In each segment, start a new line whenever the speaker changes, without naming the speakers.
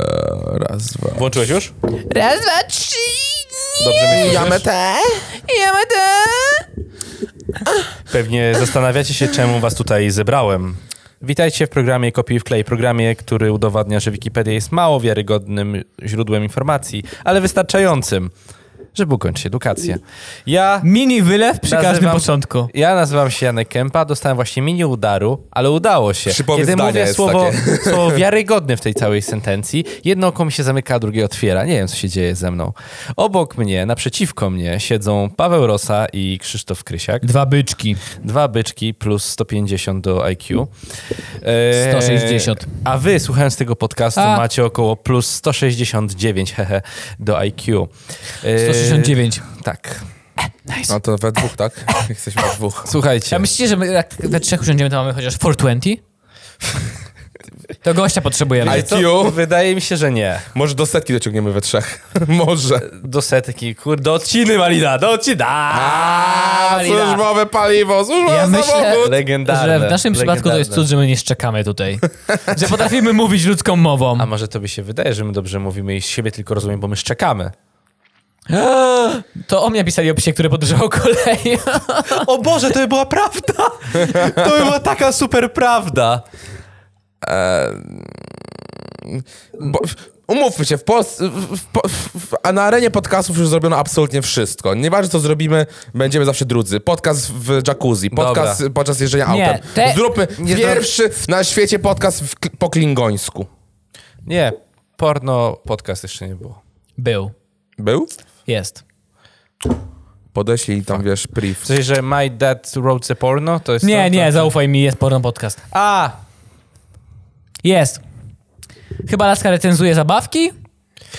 E, raz, dwa.
Włączyłeś już?
Raz, dwa, trzy.
Dobrze myślisz?
te?
Jemy te.
Pewnie zastanawiacie się, czemu was tutaj zebrałem. Witajcie w programie Kopiuj w klej, programie, który udowadnia, że Wikipedia jest mało wiarygodnym źródłem informacji, ale wystarczającym, żeby ukończyć edukację. Ja,
Mini wylew przy każdym
Nazywam-
początku.
ja nazywam się Janek Kępa, dostałem właśnie mini udaru, ale udało się.
Szybowe
Kiedy
zdanie
mówię
jest
słowo, słowo wiarygodny w tej całej sentencji, jedno oko mi się zamyka, a drugie otwiera. Nie wiem, co się dzieje ze mną. Obok mnie, naprzeciwko mnie siedzą Paweł Rosa i Krzysztof Krysiak.
Dwa byczki.
Dwa byczki plus 150 do IQ. E,
160.
A wy, słuchając tego podcastu,
A.
macie około plus 169 hehe, do IQ. E,
169.
Tak.
No to we dwóch, tak? Jesteśmy we dwóch.
Słuchajcie.
A myślicie, że my jak we trzech usiądziemy, to mamy chociaż 420? To gościa potrzebujemy.
Ale-
co?
IQ?
Wydaje mi się, że nie.
Może do setki dociągniemy we trzech. Może.
Do setki, kurde, do odciny Malina, do odcina!
A, służbowe paliwo, służbowe
Ja myślę-
samochód.
Legendarne.
Że w naszym przypadku to jest
legendarne.
cud, że my nie szczekamy tutaj. Że potrafimy mówić ludzką mową.
A może tobie się wydaje, że my dobrze mówimy i siebie tylko rozumiemy, bo my szczekamy.
To o mnie pisali o psie, który podróżował koleją.
O Boże, to by była prawda! To by była taka super prawda!
Bo, umówmy się, w Polsce, w, w, w, a na arenie podcastów już zrobiono absolutnie wszystko. Nieważne co zrobimy, będziemy zawsze drudzy. Podcast w jacuzzi, podcast podczas jeżdżenia
Nie,
autem.
te-
Zróbmy
Nie zro-
pierwszy na świecie podcast w, kl- po klingońsku.
Nie, porno podcast jeszcze nie było.
Był.
Był?
Jest.
Podeślij tam, wiesz, priv.
W sensie, że My Dad Wrote the Porno to jest. to,
Nie,
to,
nie, zaufaj mi, jest porno podcast.
A!
Jest. Chyba laska recenzuje zabawki?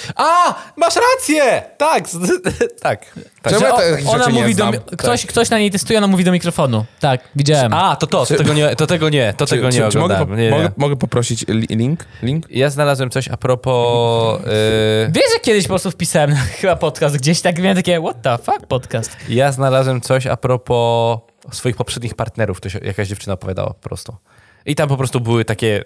No,
A! Masz rację! Tak, z, tak. tak.
Czemu
Że
ja
o-
takich
ona
rzeczy nie
mówi do
znam? Tak.
mi- ktoś, ktoś na niej testuje, ona mówi do mikrofonu. Tak, widziałem.
A, to to, to tego nie, to tego nie, to tego nie
mogę,
oglądałem.
po-
nie,
Mogę,
nie.
mogę poprosić li- link? Link?
Ja znalazłem coś a propos... y,
Wiesz, że kiedyś po prostu wpisałem na chyba podcast gdzieś, tak miałem takie what the fuck podcast.
ja znalazłem coś a propos swoich poprzednich partnerów. To się, jakaś dziewczyna opowiadała po prostu. I tam po prostu były takie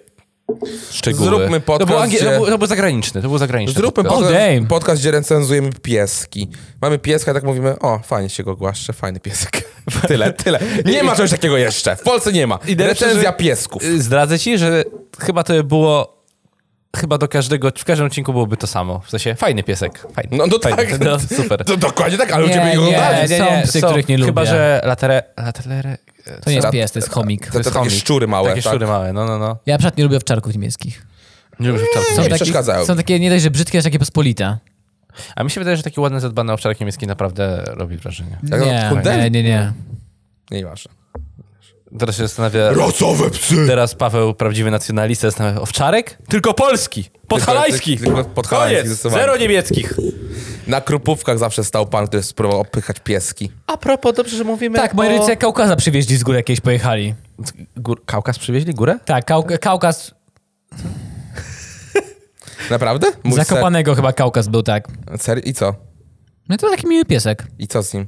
szczegóły.
Zróbmy
to,
podcast,
był angie-
gdzie-
to, był, to był zagraniczny, to był zagraniczny
Zróbmy
podcast.
podcast.
podcast,
damn.
podcast, gdzie recenzujemy pieski. Mamy pieska i tak mówimy, o, fajnie się go głaszcze, fajny piesek. Tyle, tyle. Nie ma czegoś takiego jeszcze. W Polsce nie ma.
I najlepsze,
Recenzja
że-
piesków.
Y, Zdradzę ci, że chyba to było... Chyba do każdego, w każdym odcinku byłoby to samo. W sensie, fajny piesek, fajny.
No, no
fajny.
tak.
No, super.
To, dokładnie tak, ale
Nie,
ludzie by ich
nie.
oglądali.
są psy, których nie
Chyba,
lubię.
że latere... latere
To nie jest
Ra-
pies, to jest chomik.
To, to takie
chomik.
szczury małe.
takie
tak?
szczury małe, no, no, no.
Ja na przykład nie lubię owczarków niemieckich.
Nie lubię
Nie,
wczoraj.
Tak.
nie przeszkadzają.
Są takie nie dość, że brzydkie, aż takie pospolite.
A mi się wydaje, że taki ładny, zadbany owczarek niemiecki naprawdę robi wrażenie.
Tak,
nie,
no,
nie, nie, nie.
Nieważne.
Teraz się zastanawia...
Rasowe psy!
Teraz Paweł, prawdziwy nacjonalista, zastanawia owczarek? Tylko polski! Podhalański!
Tylko- tylko podhalański
Koniec!
zdecydowanie.
Zero niemieckich!
Na Krupówkach zawsze stał pan, który spróbował opychać pieski.
A propos, dobrze, że mówimy
Tak, moi rodzice Kaukaza przywieźli z góry jakieś pojechali.
Gór... Kaukaz przywieźli górę?
Tak, Kauk- Kaukaz,
Naprawdę? Mój
zakopanego chyba Kaukaz był, tak.
Ser... Serio? I co?
No to taki miły piesek.
I co z nim?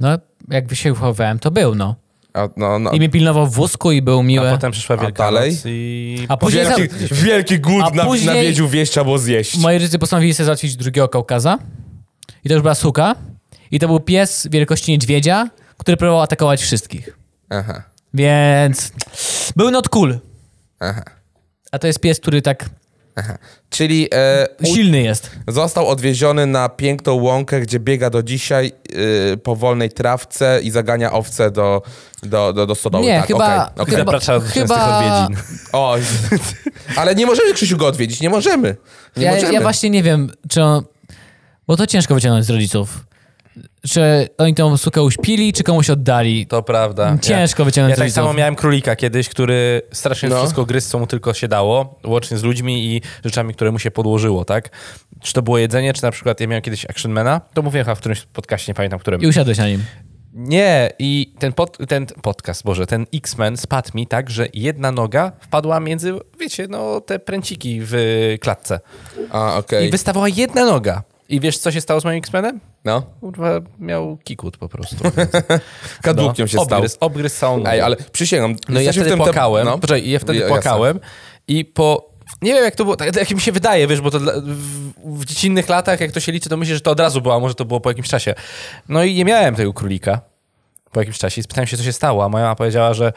No, jak się uchowałem, to był, no.
A, no, no.
I mnie pilnował w wózku i był miły.
A potem przyszła Wielkanoc
dalej?
i...
A później
wielki,
za-
wielki głód
A
na,
później-
nawiedził wieś, trzeba było zjeść.
Moi rodzice postanowili sobie załatwić drugiego Kaukaza. I to już była suka. I to był pies wielkości niedźwiedzia, który próbował atakować wszystkich.
Aha,
Więc był not cool.
aha,
A to jest pies, który tak
aha. Czyli e, u-
silny jest.
został odwieziony na piękną łąkę, gdzie biega do dzisiaj e, po wolnej trawce i zagania owce do, do, do, do stodoły.
Nie,
tak,
chyba-
okej, okej.
chyba-
Zapraszam do
chyba-
częstych odwiedzin.
O, ale nie możemy Krzysiu go odwiedzić, nie możemy. Nie
Ja,
możemy.
ja właśnie nie wiem, czy on... Bo to ciężko wyciągnąć z rodziców. Czy oni tą sukę uśpili, czy komuś oddali.
To prawda.
Ciężko wyciągnąć
Ja tak
rodziców.
samo miałem królika kiedyś, który strasznie
No.
wszystko gryzł, co mu tylko się dało, łącznie z ludźmi i rzeczami, które mu się podłożyło, tak? Czy to było jedzenie, czy na przykład ja miałem kiedyś Actionmana, to mówiłem chyba w którymś podcaście, nie pamiętam, w którym.
I usiadłeś na nim.
Nie, i ten, pod, ten podcast, Boże, ten X-Men spadł mi tak, że jedna noga wpadła między, wiecie, no te pręciki w klatce.
A, okej.
I wystawała jedna noga. I wiesz, co się stało z moim X-Menem?
No,
Kurwa, miał kikut po prostu.
kadłubkiem się stał.
obgryz, Obgryz całą nogę.
Ej, ale przysięgam.
No i ja
jesteśmy
wtedy
w tym tem-
płakałem,
No.
poczekaj, ja wtedy
Ja- jasne.
płakałem i po Nie wiem, jak to było, tak, tak jak mi się wydaje, wiesz, bo to dla, w, w dziecinnych latach, jak to się liczy, to myślę, że to od razu było, a może to było po jakimś czasie. No i nie miałem tego królika po jakimś czasie i spytałem się, co się stało, a moja mama powiedziała, że,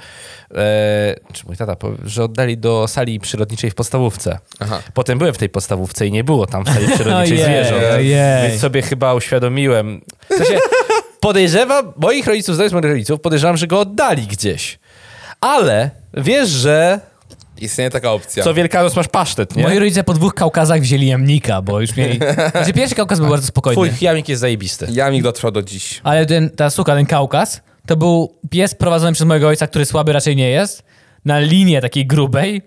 e, czy mój tata, powie- że oddali do sali przyrodniczej w podstawówce.
Aha.
Potem byłem w tej podstawówce i nie było tam w sali przyrodniczej
Ojej,
zwierząt.
ojej.
Więc sobie chyba uświadomiłem. W sensie podejrzewam, moich rodziców, zdając moich rodziców, podejrzewam, że go oddali gdzieś. Ale wiesz, że
Istnieje taka opcja.
co Wielkanoc masz pasztet, nie?
Moi rodzice po dwóch Kaukazach wzięli jamnika, bo już mieli... Znaczy pierwszy Kaukaz był bardzo spokojny.
Twój jamik jest zajebisty.
Jamik dotrwał do dziś.
Ale ten, ta suka, ten Kaukaz, to był pies prowadzony przez mojego ojca, który słaby raczej nie jest, na linię takiej grubej,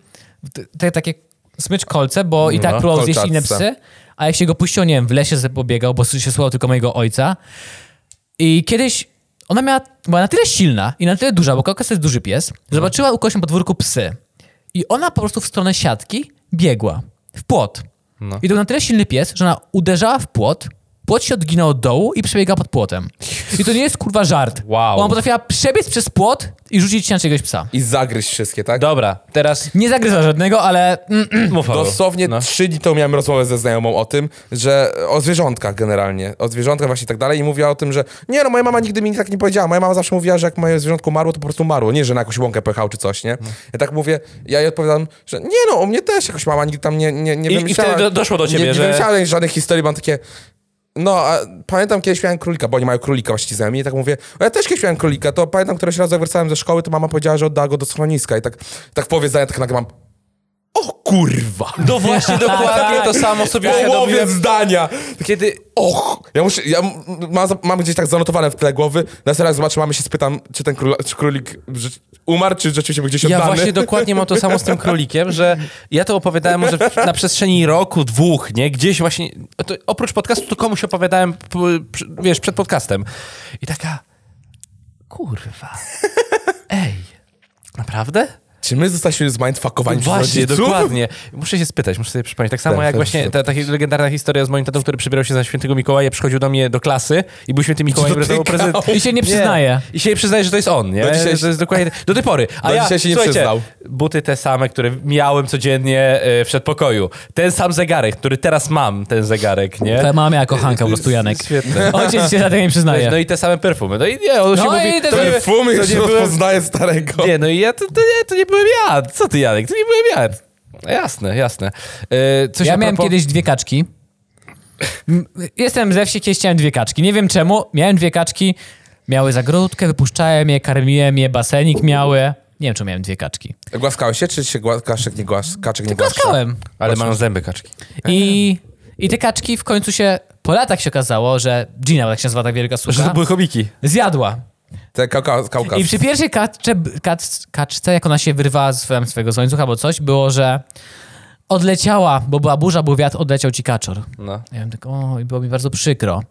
te, te takie smycz kolce, bo i tak
No,
próbował zjeść inne
kolczatce.
psy, a jak się go puściło, nie wiem, w lesie sobie pobiegał, bo się słuchał tylko mojego ojca. I kiedyś ona miała, była na tyle silna i na tyle duża, bo Kaukaz to jest duży pies, zobaczyła u kogoś na podwórku psy. I ona po prostu w stronę siatki biegła, w płot.
No.
I to był na tyle silny pies, że ona uderzała w płot, płot się odginął od dołu i przebiegała pod płotem. I to nie jest kurwa żart.
Wow.
Ona potrafiła przebiec przez płot i rzucić się na czegoś psa.
I zagryź wszystkie, tak?
Dobra, teraz
Nie zagryza żadnego, ale mm, mm,
mów Paweł.
Dosłownie
No.
trzy dni temu miałem rozmowę ze znajomą o tym, że o zwierzątkach generalnie, o zwierzątkach właśnie i tak dalej i mówiła o tym, że nie no, moja mama nigdy mi tak nie powiedziała, moja mama zawsze mówiła, że jak moje zwierzątko marło, to po prostu marło, nie, że na jakąś łąkę pojechał czy coś,
No.
nie? Ja tak mówię, ja jej odpowiadam, że nie no, o mnie też jakoś mama nigdy tam nie, nie, nie
I- i
wymyślała.
wtedy do- doszło do ciebie,
nie,
że-
Nie wymyślałem żadnych historii, mam takie... No, a pamiętam kiedyś miałem królika, bo oni mają królika właśnie znajomi i tak mówię, ja też kiedyś miałem królika, to pamiętam któreś raz jak wracałem ze szkoły, to mama powiedziała, że oddała go do schroniska i tak, tak w połowie zdania tak nagle mam, o kurwa!
No właśnie, dokładnie
Tak.
to samo sobie
połowie
uświadomiłem.
zdania.
Kiedy...
Och, ja muszę, ja m- mam, za- mam gdzieś tak zanotowane w tle głowy, na serio jak zobaczę mamy się spytam, czy ten króla, czy królik rzecz- umarł, czy rzeczywiście był gdzieś
Ja
oddany.
właśnie dokładnie mam to samo z tym królikiem, że ja to opowiadałem może na przestrzeni roku, dwóch, nie? Gdzieś właśnie, to oprócz podcastu, to komuś opowiadałem, p- przy- wiesz, przed podcastem. I taka, kurwa, ej, naprawdę?
Czy my zostaliśmy zmindfuckowani przez
Właśnie,
rodziców?
dokładnie. Muszę się spytać, muszę sobie przypomnieć. Tak samo
Tak,
jak
tak,
właśnie
tak.
ta, ta legendarna historia z moim tatą, który przybierał się za świętego Mikołaja, przychodził do mnie do klasy i był święty Mikołaj, który
dotykał.
prezent.
I się nie przyznaje.
I się nie przyznaje, że to jest on, nie?
Do dzisiaj
to jest dokładnie... Do tej pory. A
Do
ja,
dzisiaj się nie
słuchajcie,
przyznał.
buty te same, które miałem codziennie e, w przedpokoju. Ten sam zegarek, który teraz mam, ten zegarek, nie?
Twoja mama miała kochanka po prostu, Janek.
Świetne.
Ojciec się za tego nie przyznaje.
No i te same perfumy. No i nie, on się
No
mówi...
i te-
to nie-
Perfumy
to
już
nie byłem-
rozpoznaje starego.
nie, no i ja to, to, nie, to nie byłem ja. Co ty, Janek? To nie byłem ja. No Jasne, jasne. E, coś
ja
a
miałem
propos-
kiedyś dwie kaczki. M- Jestem ze wsi, kiedyś chciałem dwie kaczki. Nie wiem czemu, miałem dwie kaczki, miały zagródkę, wypuszczałem je, karmiłem je, basenik miały. Nie wiem, czemu miałem dwie kaczki.
Głaskałeś się, czy się gła... kaczek nie głas... kaczek nie głaszcze?
Klaskałem.
Ale mają zęby kaczki.
I, I te kaczki w końcu się, po latach się okazało, że Gina, bo tak się nazywa ta wielka
Że to
suka,
były chomiki.
zjadła.
Te kau- kau- kaukaz.
I przy pierwszej kaczce, kac, kaczce jak ona się wyrwała z em, swojego z łańcucha albo coś, było, że odleciała, bo była burza, był wiatr, odleciał ci kaczor.
No.
Ja wiem tak, o, i było mi bardzo przykro.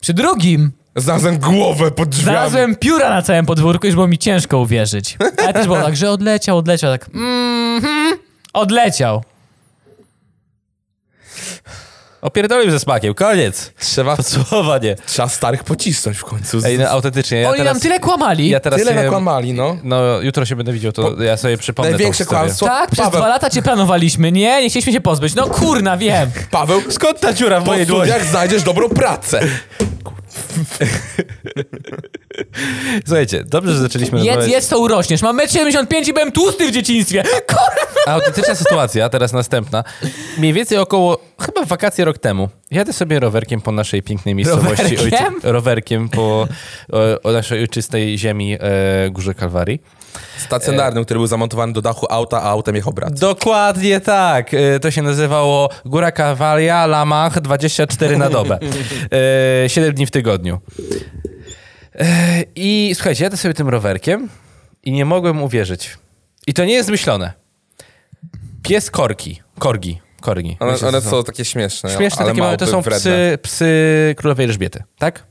Przy drugim
Znalazłem głowę pod drzwiami.
znalazłem pióra na całym podwórku, już było mi ciężko uwierzyć. Ale też było tak, że odleciał, odleciał, tak mhm, odleciał.
Opierdolił ze smakiem, koniec.
Trzeba,
Podsumowanie.
trzeba starych pocisnąć w końcu.
Ej, no, autentycznie. Ja
Oni
teraz,
nam tyle kłamali.
ja teraz
Tyle
sobie,
nakłamali, no.
No, jutro się będę widział, to ja sobie przypomnę
Największe
tą historię.
kłamstwo.
tak, przez
Paweł,
dwa lata cię planowaliśmy. Nie, nie chcieliśmy się pozbyć. No kurna, wiem.
Paweł,
Skąd ta dziura w
po
mojej dłoni?
studiach znajdziesz dobrą pracę.
Słuchajcie, dobrze, że zaczęliśmy
Jedz,
rozmawiać.
jedz, to urośniesz. Mam 1,75 m i byłem tłusty w dzieciństwie. Kurwa.
Autentyczna sytuacja, teraz następna. Mniej więcej około, chyba w wakacje rok temu, jadę sobie rowerkiem po naszej pięknej miejscowości.
Rowerkiem?
rowerkiem po o, o naszej ojczystej ziemi e, Górze Kalwarii.
Stacjonarnym, który był zamontowany do dachu auta, a autem jechał brat.
Dokładnie tak. E, To się nazywało Góra Kawalia La Mach 24 na dobę. 7 dni w tygodniu. E, I słuchajcie, jadę sobie tym rowerkiem i nie mogłem uwierzyć. I to nie jest myślone. Pies korki. Korgi. Korgi.
One,
Myślę,
one
że
są takie śmieszne.
Śmieszne
ale
takie małe, to
małpy
są
wredne.
psy, psy królowej Elżbiety, tak?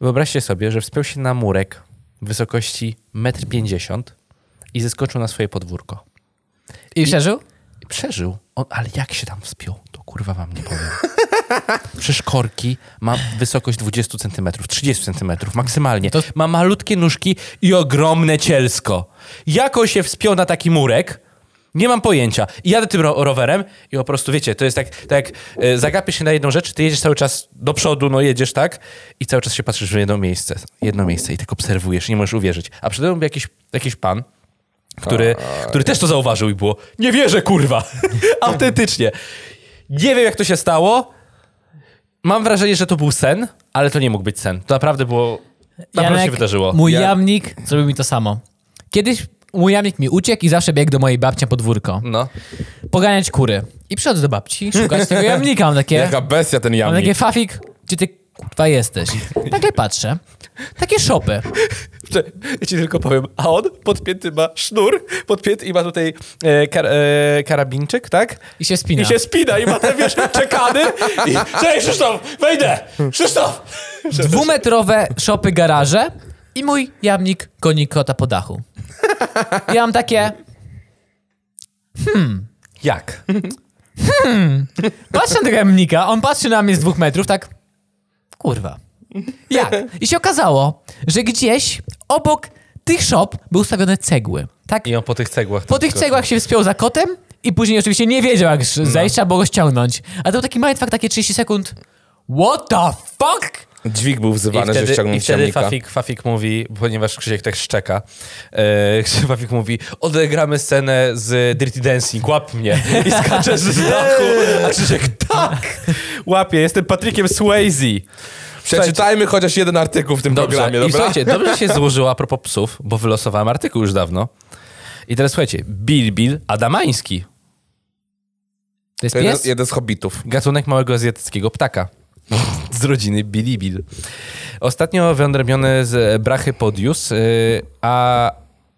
Wyobraźcie sobie, że wspiął się na murek w wysokości 1,50 m i zeskoczył na swoje podwórko.
I przeżył?
I Przeżył, on, ale jak się tam wspiął, to kurwa wam nie powiem. Przecież korki ma wysokość 20 cm, 30 cm maksymalnie. Ma malutkie nóżki i ogromne cielsko. Jako się wspiął na taki murek, Nie mam pojęcia. I jadę tym ro- rowerem i po prostu, wiecie, to jest tak, tak jak e, zagapię się na jedną rzecz, ty jedziesz cały czas do przodu, no jedziesz, tak? I cały czas się patrzysz w jedno miejsce, jedno miejsce i tak obserwujesz, nie możesz uwierzyć. A przede mną jakiś, jakiś pan, który, który też to zauważył i było, nie wierzę, kurwa, autentycznie. Nie wiem, jak to się stało. Mam wrażenie, że to był sen, ale to nie mógł być sen. To naprawdę było, naprawdę się
Janek,
wydarzyło.
Mój
Ja-
jamnik zrobił mi to samo. Kiedyś mój jamnik mi uciekł i zawsze biegł do mojej babci na podwórko.
No.
Poganiać kury. I przychodzę do babci, szukać tego jamnika. Mam takie,
Jaka bestia ten
mam takie
jamnik.
fafik, gdzie ty kurwa jesteś. Nagle patrzę. Takie szopy.
Cze- Ja ci tylko powiem, a on podpięty ma sznur, podpięty i ma tutaj e, kar, e, karabinczyk, tak?
I się spina.
I się spina i ma te, wiesz, czekany i... Cześć, Krzysztof, wejdę! Krzysztof!
Dwumetrowe szopy, garaże i mój jamnik goni kota po dachu. Ja mam takie,
Jak?
patrzę na tego jamnika, on patrzy na mnie z dwóch metrów, tak, kurwa. Jak? I się okazało, że gdzieś obok tych szop były ustawione cegły. Tak?
I on po tych cegłach...
Po tych cegłach się wspiął za kotem i później oczywiście nie wiedział, jak sz- zejść, trzeba było go ściągnąć. A to był taki mindfuck, takie 30 sekund. What the fuck?
Dźwig był
I
wzywany, że
wtedy,
ściągnął
i wtedy
ciemnika.
Fafik, Fafik mówi, ponieważ Krzysiek tak szczeka, e, Krzysiek Fafik mówi, odegramy scenę z Dirty Dancing, łap mnie. I skaczesz z dachu, a Krzysiek tak, łapie, jestem Patrykiem Swayze.
Przeczytajmy chociaż jeden artykuł w tym programie,
I
dobra?
słuchajcie, dobrze się złożyło a propos psów, bo wylosowałem artykuł już dawno. I teraz słuchajcie, Bilbil Adamański,
To jest
To jeden,
pies?
jeden z hobbitów.
gatunek małego azjatyckiego ptaka z rodziny Bilibil. Ostatnio wyodrębniony z brachy podius, y, a,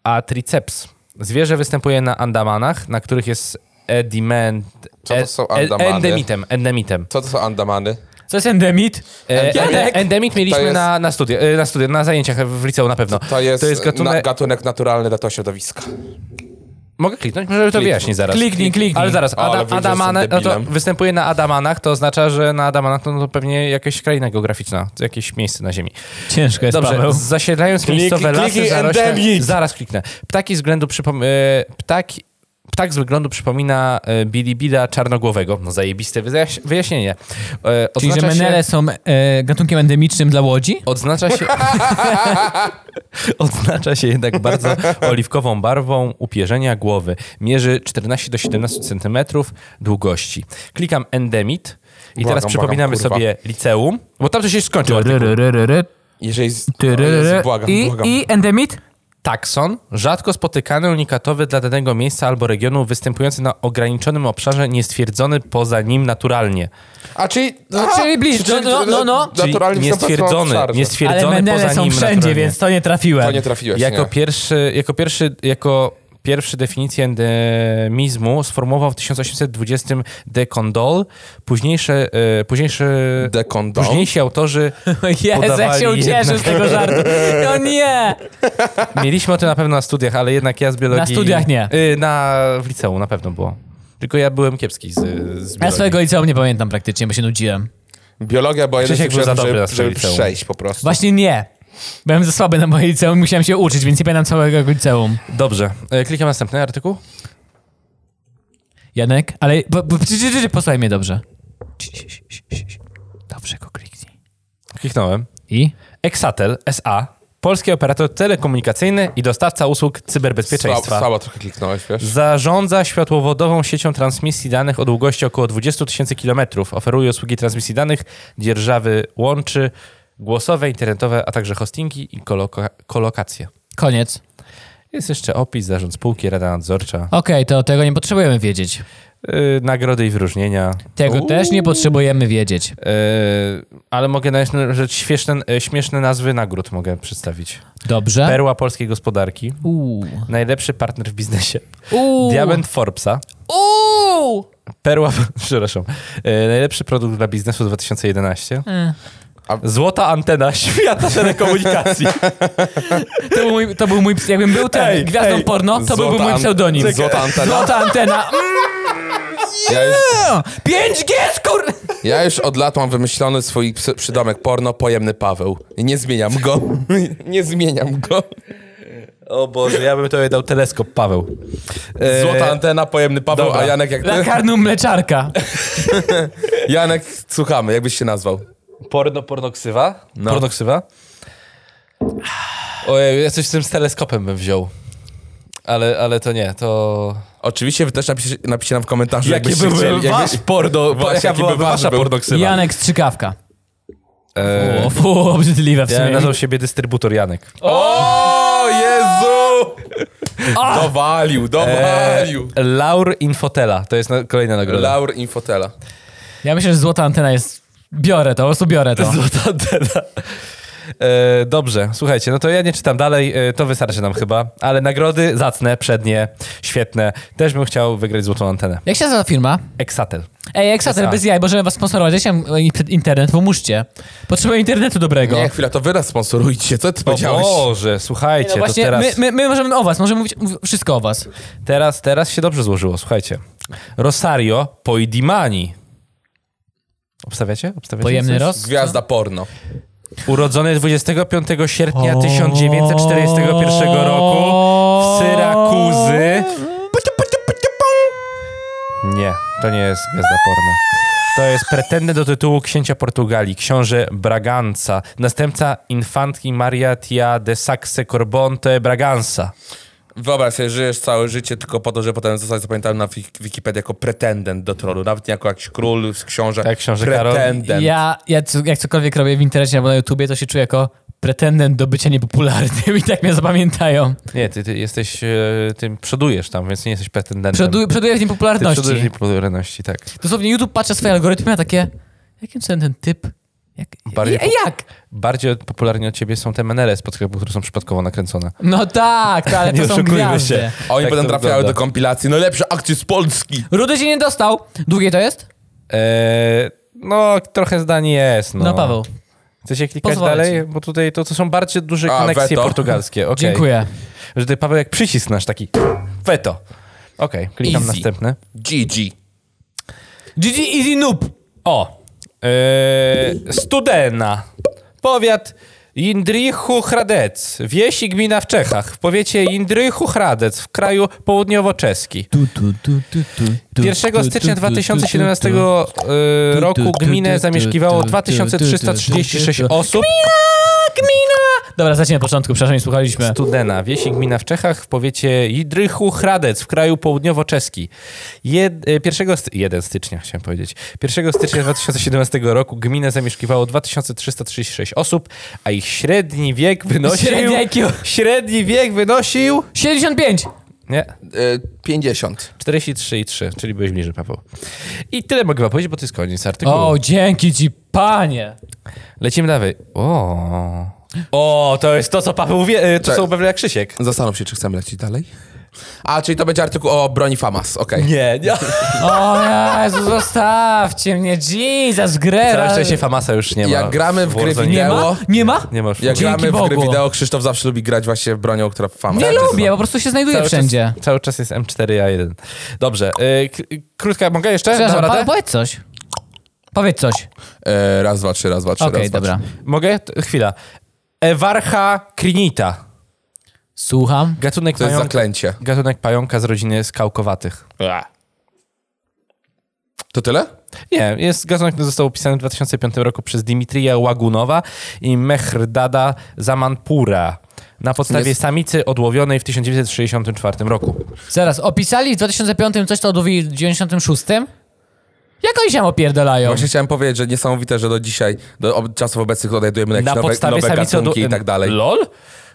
a triceps. Zwierzę występuje na Andamanach, na których jest ediment, e-
Co to są Andamany?
endemitem, endemitem.
Co to są Andamany?
To jest endemit?
E,
Janek!
ende- endemit mieliśmy
To jest-
na, na, studia, e, na studia, na zajęciach w liceum na pewno.
To jest,
gatunek...
na, gatunek naturalny dla tego środowiska.
Mogę kliknąć? Może to wyjaśni zaraz.
Kliknij, kliknij.
Ale zaraz,
Ale
Ada,
widzę, że
Adamane,
jestem
no to
debilem.
występuje na Adamanach, to oznacza, że na Adamanach to, no to pewnie jakaś kraina geograficzna, jakieś miejsce na ziemi.
Ciężko jest,
Dobrze,
Paweł.
zasiedlając
Klik-
miejscowe
kliknij
lasy zarośle,
endemic.
zaraz kliknę. Ptaki z względu przypom- e, ptaki, ptak z wyglądu przypomina e, Bilibila czarnogłowego. No zajebiste wyjaś- wyjaśnienie. E,
Czyli, że
oznacza się-
menele są e, gatunkiem endemicznym dla łodzi?
Odznacza się, odznacza się jednak bardzo oliwkową barwą upierzenia głowy. Mierzy 14 do 17 cm długości. Klikam endemit i
Błagam,
teraz
błagam,
przypominamy
kurwa.
sobie liceum, bo tam to się skończył. artykuł.
Jeżeli... Z... O No, Jezu, błagam,
I,
błagam.
I endemit?
Takson, rzadko spotykany, unikatowy dla danego miejsca albo regionu, występujący na ograniczonym obszarze, niestwierdzony poza nim naturalnie.
A czyli...
No, czyli bliżej,
czyli-
no, no, no.
Czyli
Naturalnie
niestwierdzony,
Ale
niestwierdzony
menele
poza
są
nim
wszędzie,
naturalnie.
więc to nie trafiłem.
To nie trafiłeś,
Jako
nie.
pierwszy, jako pierwszy, jako pierwszy definicję endemizmu sformułował w 1820 de Condol. Późniejsze, e, późniejsze,
Dekondom.
późniejsi autorzy
Jezu, jak się
podawali
ucieszę z
jednak-
tego żartu. No nie!
Mieliśmy o tym na pewno na studiach, ale jednak ja z biologii...
Na studiach nie.
Y, na, w liceum na pewno było. Tylko ja byłem kiepski z, z
Ja
biologii.
swojego liceum nie pamiętam praktycznie, bo się nudziłem.
Biologia była jeden z
Krzysiek
tych
był za
przedmiotów,
dobry na
żeby,
swoje
żeby
liceum.
przejść po prostu.
Właśnie nie. Byłem za słaby na moje liceum, musiałem się uczyć, więc nie pamiętam całego liceum.
Dobrze, e, klikam następny artykuł.
Janek, ale bo, bo, czy- czy- czy- posłuchaj mnie dobrze. Ci- ci- ci- ci- ci- ci. Dobrze go kliknij.
Kliknąłem.
I?
Exatel S.A., polski operator telekomunikacyjny i dostawca usług cyberbezpieczeństwa.
Słabo, słabo trochę kliknąłeś, wiesz?
Zarządza światłowodową siecią transmisji danych o długości około 20 tysięcy kilometrów. Oferuje usługi transmisji danych, dzierżawy łączy, głosowe, internetowe, a także hostingi i koloka- kolokacje.
Koniec.
Jest jeszcze opis, zarząd spółki, rada nadzorcza,
Okej, to tego nie potrzebujemy wiedzieć.
yy, nagrody i wyróżnienia.
Tego też nie potrzebujemy wiedzieć.
Yy, ale mogę na rzecz śmieszne, yy, śmieszne nazwy nagród mogę przedstawić.
Dobrze?
Perła polskiej gospodarki,
Uuu.
najlepszy partner w biznesie,
Uuu.
diament Forbesa,
Uuu.
Perła, przepraszam. E, najlepszy produkt dla biznesu 2011.
A-
Złota antena świata telekomunikacji.
To był mój, to był mój ps- jakbym był ten
Ej,
gwiazdą
ej.
porno, to byłby
Złota
mój
an-
pseudonim.
Złota antena.
Złota antena. Mm,
Ja już,
5G, skur...
ja już od lat mam wymyślony swój ps- przydomek porno, pojemny Paweł. I nie zmieniam go. nie zmieniam go.
O Boże, ja bym tobie dał teleskop, Paweł. E,
Złota antena, pojemny Paweł,
dobra.
a Janek jak ty?
Lakarnum mleczarka.
Janek, słuchamy, jakbyś się nazwał.
Porno, pornoksywa?
No.
Pornoksywa? Ojej, ja coś z tym z teleskopem bym wziął. Ale, ale to nie, to...
Oczywiście wy też napiszcie, napiszcie nam w komentarzu,
Jakby
jakbyście chcieli. jakbyś-
porno,
Właśnie,
jaka
jaki
byłaby
by wasz
wasza
był?
pornoksywa?
Janek Strzykawka.
E,
O, fu, obrzydliwe w
ja
sumie.
nazwał siebie dystrybutor Janek.
O Jezu! Dowalił, dowalił.
E, Laur Infotela, to jest na, kolejna nagroda.
Laur Infotela.
Ja myślę, że złota antena jest... Biorę to, po prostu biorę to.
Złota antena. E, dobrze, słuchajcie, no to ja nie czytam dalej, e, to wystarczy nam chyba, ale nagrody zacne, przednie, świetne. Też bym chciał wygrać złotą antenę.
Jak się nazywa firma?
Exatel.
Ej, Exatel,
SA.
bez jaj, możemy was sponsorować. Dajcie nam e, internet, pomóżcie. Potrzebuję internetu dobrego.
Nie, chwila, to wy nas sponsorujcie, co ty
O
powiedziałeś?
Boże, słuchajcie,
No
to
właśnie,
teraz,
my, my, my możemy o was, możemy mówić mów- wszystko o was.
teraz, teraz się dobrze złożyło, słuchajcie. Rosario Poidimani. Obstawiacie? Obstawiacie
Pojemny
coś?
roz?
Gwiazda porno.
Urodzony 25 sierpnia 1941 roku w Syrakuzy. Nie, to nie jest gwiazda porno. To jest pretendent do tytułu księcia Portugalii, książę Braganza, następca infantki Maria Tia de Saxe Corbonte Braganza.
Wyobraź sobie, żyjesz całe życie tylko po to, żeby potem zostać zapamiętany na Wik- Wikipedii jako pretendent do tronu. Nawet nie jako jakiś król, książę.
Tak, książę Karol.
pretendent.
Ja, ja co- jak cokolwiek robię w internecie albo na YouTubie, to się czuję jako pretendent do bycia niepopularnym i tak mnie zapamiętają.
Nie, ty, ty jesteś, e, ty przodujesz tam, więc nie jesteś pretendentem.
Przoduję, przoduję w
ty przodujesz
niepopularności.
popularności, tak.
Dosłownie YouTube patrzę swoje algorytmy, a takie, jakim cudem ten typ? Jak,
Bardziej
jak, jak?
Bardziej od- popularni od ciebie są te menele z podklepu, które są przypadkowo nakręcone.
No tak, to, ale
Nie
to są
oszukujmy
gwiazdy.
się.
Oni
Tak
potem
to
trafiały
wygląda.
do kompilacji. No Najlepsze akcje z Polski.
Rudy się nie dostał. Długie to jest?
E, no, trochę zdań jest, no.
No, Paweł,
Chcecie klikać
Pozwolę
dalej?
ci.
Bo tutaj to, to są bardzo duże
A,
koneksje
weto.
portugalskie. Okay.
dziękuję.
Że ty, Paweł, jak przycisnasz taki weto. Okej, klikam
Easy.
następny.
GG.
GG Easy Noob.
O! E, Studena. Powiat Indrichu Hradec. Wieś i gmina w Czechach. W powiecie Indrichu Hradec w kraju południowo-czeski. 1 stycznia 2017 e, roku gminę zamieszkiwało 2336 osób.
Gmina! Dobra, zacznij od początku, przepraszam, nie słuchaliśmy.
Studena, wieś i gmina w Czechach, w powiecie Idrychu Hradec w kraju południowo-czeski. Jed, e, 1, sty- 1 stycznia, chciałem powiedzieć. 1 stycznia 2017 roku gminę zamieszkiwało 2336 osób, a ich średni wiek wynosił...
Średni IQ.
Średni wiek wynosił...
75!
Nie,
Y, 50.
43,3, czyli byłeś bliżej, Paweł. I tyle mogę wam powiedzieć, bo to jest koniec artykułu.
O, dzięki ci, panie!
Lecimy dalej. O. O, to jest to, co Paweł wie, e, to
Cze-
co upewnia Krzysiek.
Zastanów się, czy chcemy lecieć dalej. A, czyli to będzie artykuł o broni Famas, okej.
Nie, nie.
O Jezu, zostawcie mnie, Jesus, grę!
Całe szczęście Famasa już nie ma.
Jak gramy w gry wideo-
Warzone.
Nie ma? Nie ma?
Nie ma już.
Jak
Dzięki
gramy w gry
Bogu.
wideo, Krzysztof zawsze lubi grać właśnie bronią, która Famas.
Nie
Tak, to jest-
lubię, po prostu się znajduję
Cały
wszędzie.
Czas, cały czas jest M4A1. Dobrze. y, k- krótka, mogę jeszcze? Dam
Przepraszam,
radę?
pa, powiedz coś. Powiedz coś.
E, raz, dwa, trzy, raz, dwa, trzy,
Okej,
raz, dwa,
dobra.
trzy.
Mogę? T- Chwila. Ewarcha crinita.
Słucham.
Gatunek,
To jest
pająka,
zaklęcie.
gatunek pająka z rodziny skałkowatych.
To tyle?
Nie, jest gatunek, który został opisany w 2005 roku przez Dimitrija Łagunowa i Mehrdada Zamanpura na podstawie
Jest-
samicy odłowionej w 1964 roku.
Zaraz, opisali w 2005 coś, co odłowili w 96? Jak oni się opierdalają?
Właśnie chciałem powiedzieć, że niesamowite, że do dzisiaj, do ob- czasów obecnych odnajdujemy jakieś
na
nowe,
podstawie
nowe
samicy
gatunki
odło-
i tak dalej.
LOL?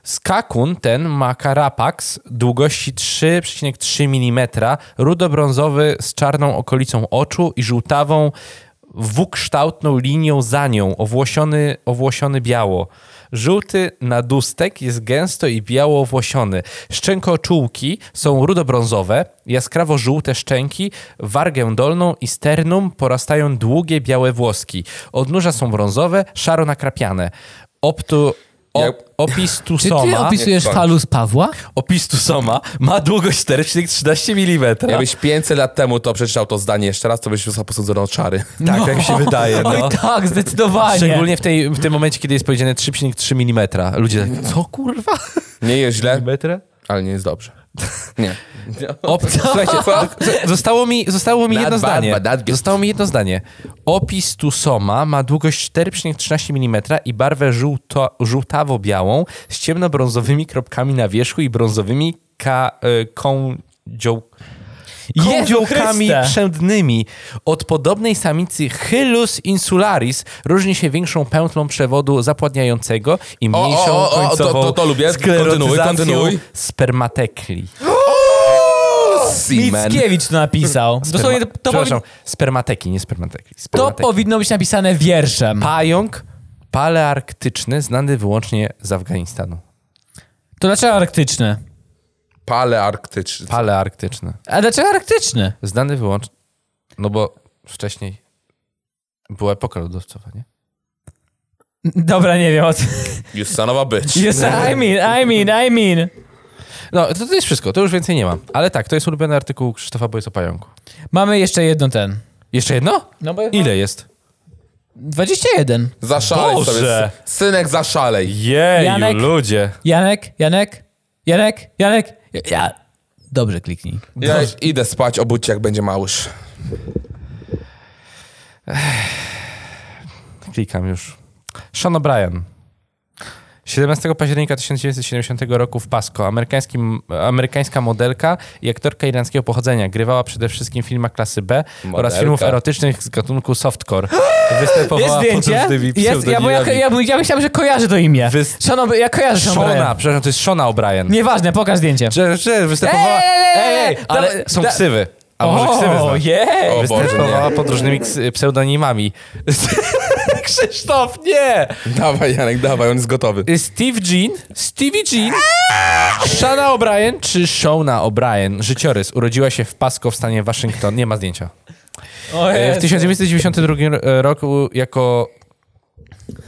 Skakun ten ma karapax długości 3,3 mm, rudobrązowy z czarną okolicą oczu i żółtawą W-kształtną linią za nią, owłosiony, owłosiony biało. Żółty nadustek jest gęsto i biało owłosiony. Szczękoczułki są rudobrązowe, jaskrawo żółte szczęki, wargę dolną i sternum porastają długie białe włoski. Odnóża są brązowe, szaro nakrapiane. Optu,
Ja-
O, opis
Czy ty
Tusoma,
opisujesz
Nie,
falus Pawła?
opis Tusoma ma długość 4,13 mm.
Jakbyś 500 lat temu to przeczytał to zdanie jeszcze raz, to byś został posądzony o czary.
Tak, jak mi się wydaje.
Oj
No.
tak, zdecydowanie.
Szczególnie w, tej, w tym momencie, kiedy jest powiedziane 3,3 mm. Ludzie tak, co kurwa?
Nie jest źle,
Metra?
ale nie jest dobrze. Nie.
Opis, słuchajcie, z- zostało mi, zostało mi
Not
jedno
bad,
zdanie.
but not good.
Zostało mi jedno zdanie. Opis Tusoma ma długość 4,13 mm i barwę żółto, żółtawo-białą z ciemnobrązowymi kropkami na wierzchu i brązowymi ka, y, kądzioł,
Jezu
kądziołkami
Chryste!
przędnymi. Od podobnej samicy Hyllus insularis różni się większą pętlą przewodu zapładniającego i
o,
mniejszą
o, o,
końcową
to- to- to lubię. Kontynuuj, kontynuuj.
spermatekli.
Seaman.
Mickiewicz to napisał. Dosłownie to,
Sperma-
to, powi-
Przepraszam, spermateki, nie spermateki.
to
spermateki.
powinno być napisane wierszem.
Pająk palearktyczny, znany wyłącznie z Afganistanu.
To dlaczego arktyczny?
Palearktyczny.
Palearktyczny.
A dlaczego arktyczny?
Znany wyłącznie... No bo wcześniej była epoka lodowcowa, nie?
Dobra, nie wiem. o co-
You son of a bitch.
Yes, I mean, I mean, I mean.
No, to, to jest wszystko, to już więcej nie mam. Ale tak, to jest ulubiony artykuł Krzysztofa, bo jest o pająku.
Mamy jeszcze jedno ten.
Jeszcze jedno?
No bo
Ile jest?
21.
Zaszalej
Boże.
sobie. sy- Synek, zaszalej.
Jeju,
Janek.
ludzie.
Janek, Janek, Janek, Janek. Ja. Dobrze kliknij.
Ja idę spać, obudź się, jak będzie małysz.
Klikam już. Sean O'Brien. 17 października 1970 roku w Pasco. Amerykański, amerykańska modelka i aktorka irlandzkiego pochodzenia. Grywała przede wszystkim w filmach klasy B oraz
Modelka.
filmów erotycznych z gatunku softcore.
Jest
Występowała
zdjęcie?
pod różnymi
Jest, ja, bo ja,
pseudonimami.
ja, ja myślałem, że kojarzę to imię.
Wys-
Szanob, ja kojarzę
Shona,
Szona.
przepraszam, to jest Shona O'Brien.
Nieważne, pokaż zdjęcie.
Że, że występowała...
Ej, ej, ej, ej,
ale
dobra,
są
da-
ksywy. A może ksywy
O,
znasz?
jej!
O Boże,
Występowała
nie.
pod różnymi ksy- pseudonimami. Krzysztof, nie!
Dawaj, Janek, dawaj, on jest gotowy.
Y, Steve Jean, Stevie Jean, Shana O'Brien czy Shona O'Brien? Życiorys. Urodziła się w Pasco w stanie Waszyngton. Nie ma zdjęcia. Y,
O
E, W
Jezu.
1992 ro- roku jako,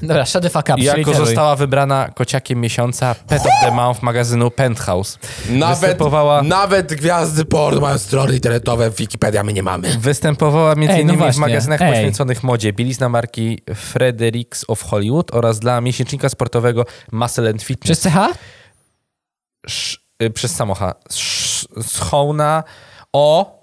Dobra, shut the fuck up.
jako
przeliteruj.
została wybrana kociakiem miesiąca Pet of the Month magazynu Penthouse.
Nawet,
Występowała,
nawet gwiazdy porno mają strony internetowe, Wikipedia my nie mamy.
występowała między
Ej, no
innymi w
właśnie,
magazynach
ej.
poświęconych modzie. Bielizna marki Fredericks of Hollywood oraz dla miesięcznika sportowego Muscle and Fitness.
Przez CH?
sz, y, przez samocha. Sz, schona o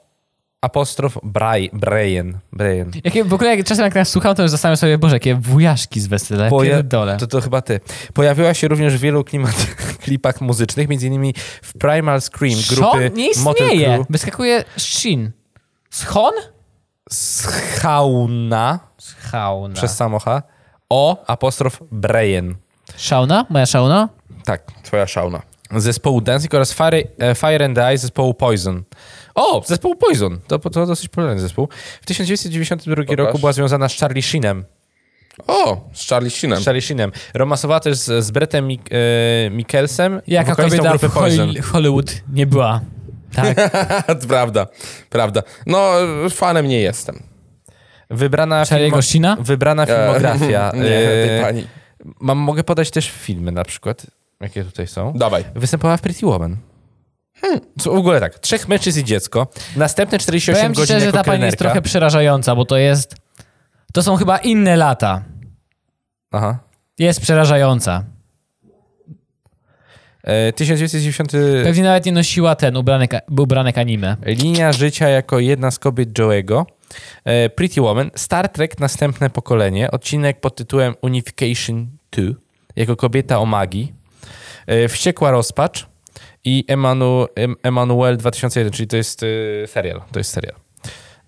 apostrof Bry, Brian. Brian.
Jakie, w ogóle jak, czasem jak nas słucham, to już zastanawiam sobie, Boże, jakie wujaszki z wesela, pierdolę.
to, to chyba ty. Pojawiła się również w wielu klimat, klipach muzycznych, między innymi w Primal Scream grupy
Szon nie
Motel
istnieje.
Crew.
Wyskakuje Shin. Schon?
Schauna
Schauna.
przez samocha o apostrof Brian.
Szauna? Moja szauna?
Tak.
Twoja szauna.
Zespołu Dancing oraz Fire, e, Fire and Ice zespołu Poison. O, zespół Poison. To, to dosyć popularny zespół. W 1992 roku
Pokaż.
była związana z Charlie Sheenem.
O, z Charlie Sheenem.
Z Charlie Sheenem. Romansowała też z, z Brettem Mik- e, Mikkelsem,
Jaka
wokalistą
kobieta w
grupy Poison.
Hol- Hollywood nie była. Tak.
prawda, prawda. No, fanem nie jestem.
Wybrana,
Charlie'ego Sheena?
wybrana filmografia.
E, Nie, tej
E,
pani.
mam, mogę podać też filmy na przykład, jakie tutaj są.
Dawaj.
Występowała w Pretty Woman.
Hmm.
Co, w ogóle tak, trzech mężczyzn i dziecko. Następne 48
Powiem ci
godzin
szczerze, że
jako
ta pani jest
kelnerka.
trochę przerażająca, bo to jest... To są chyba inne lata.
Aha.
Jest przerażająca.
E, 1990...
Pewnie nawet nie nosiła ten ubranek, ubranek anime.
Linia życia jako jedna z kobiet Joe'ego. E, Pretty Woman. Star Trek Następne Pokolenie. Odcinek pod tytułem Unification 2. Jako kobieta o magii. E, Wściekła rozpacz. I Emanu, em, Emanuel 2001, czyli to jest e, serial. To jest serial.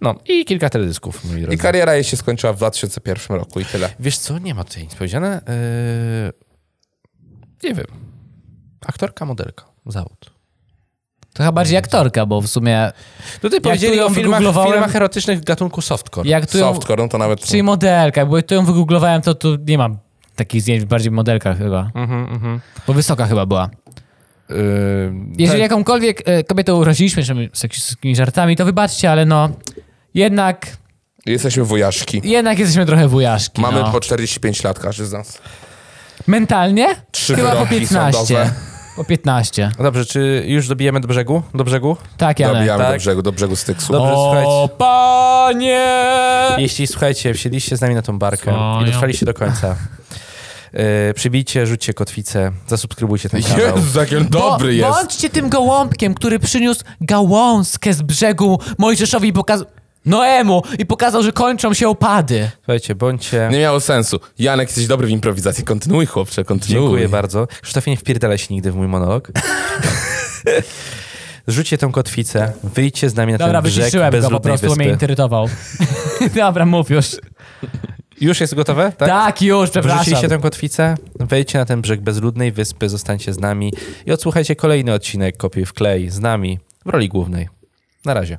No i kilka teledysków, moi drodzy.
I kariera jej się skończyła w 2001 roku i tyle.
Wiesz co, nie ma tutaj nic powiedziane. E, nie wiem. Aktorka, modelka. Zawód.
To chyba bardziej aktorka, bo w sumie...
No Tutaj powiedzieli
tu ją
o filmach,
wygooglowałem-
filmach erotycznych gatunku softcore.
Jak tu ją,
Softcore, no to nawet...
Czyli modelka, bo tu ją wygooglowałem, to tu nie mam takich zdjęć, bardziej modelka chyba.
Mhm,
Bo wysoka chyba była.
E,
Jeżeli
Tak.
jakąkolwiek e, kobietę uraziliśmy żeby- seksistowskimi żartami, to wybaczcie, ale no jednak,
Jesteśmy wujaszki.
jednak jesteśmy trochę wujaszki.
Mamy
no.
po 45 lat każdy z nas.
Mentalnie?
Trzy
Chyba po
wyroki
15.
sądowe.
Po 15
No dobrze, czy już dobijemy do brzegu? Do brzegu?
Tak, Janek.
Dobijamy do
tak.
brzegu, do brzegu Styksu.
Dobrze,
O
słuchajcie.
panie!
Jeśli słuchajcie, wsiedliście z nami na tą barkę
O,
i
nie.
dotrwaliście do końca. Yy, przybijcie, rzućcie kotwicę, zasubskrybujcie ten kanał.
Jezu, jaki on dobry
Bo,
jest.
Bądźcie tym gołąbkiem, który przyniósł gałązkę z brzegu Mojżeszowi i pokazał... Noemu! I pokazał, że kończą się opady.
Słuchajcie, bądźcie.
Nie miało sensu. Janek, jesteś dobry w improwizacji. Kontynuuj, chłopcze, kontynuuj.
Dziękuję bardzo. Krzysztofie, nie wpierdalaj się nigdy w mój monolog. Rzućcie tą kotwicę, wyjdźcie z nami na
Dobra,
ten brzeg
wyciszyłem go, po
bezludnej
prostu bo mnie
wyspy.
irytował. Dobra, mów już.
Już jest gotowe?
Tak, już, przepraszam.
Wrzuciliście tę kotwicę, wejdźcie na ten brzeg bezludnej wyspy, zostańcie z nami i odsłuchajcie kolejny odcinek Kopiuj w klej z nami w roli głównej. Na razie.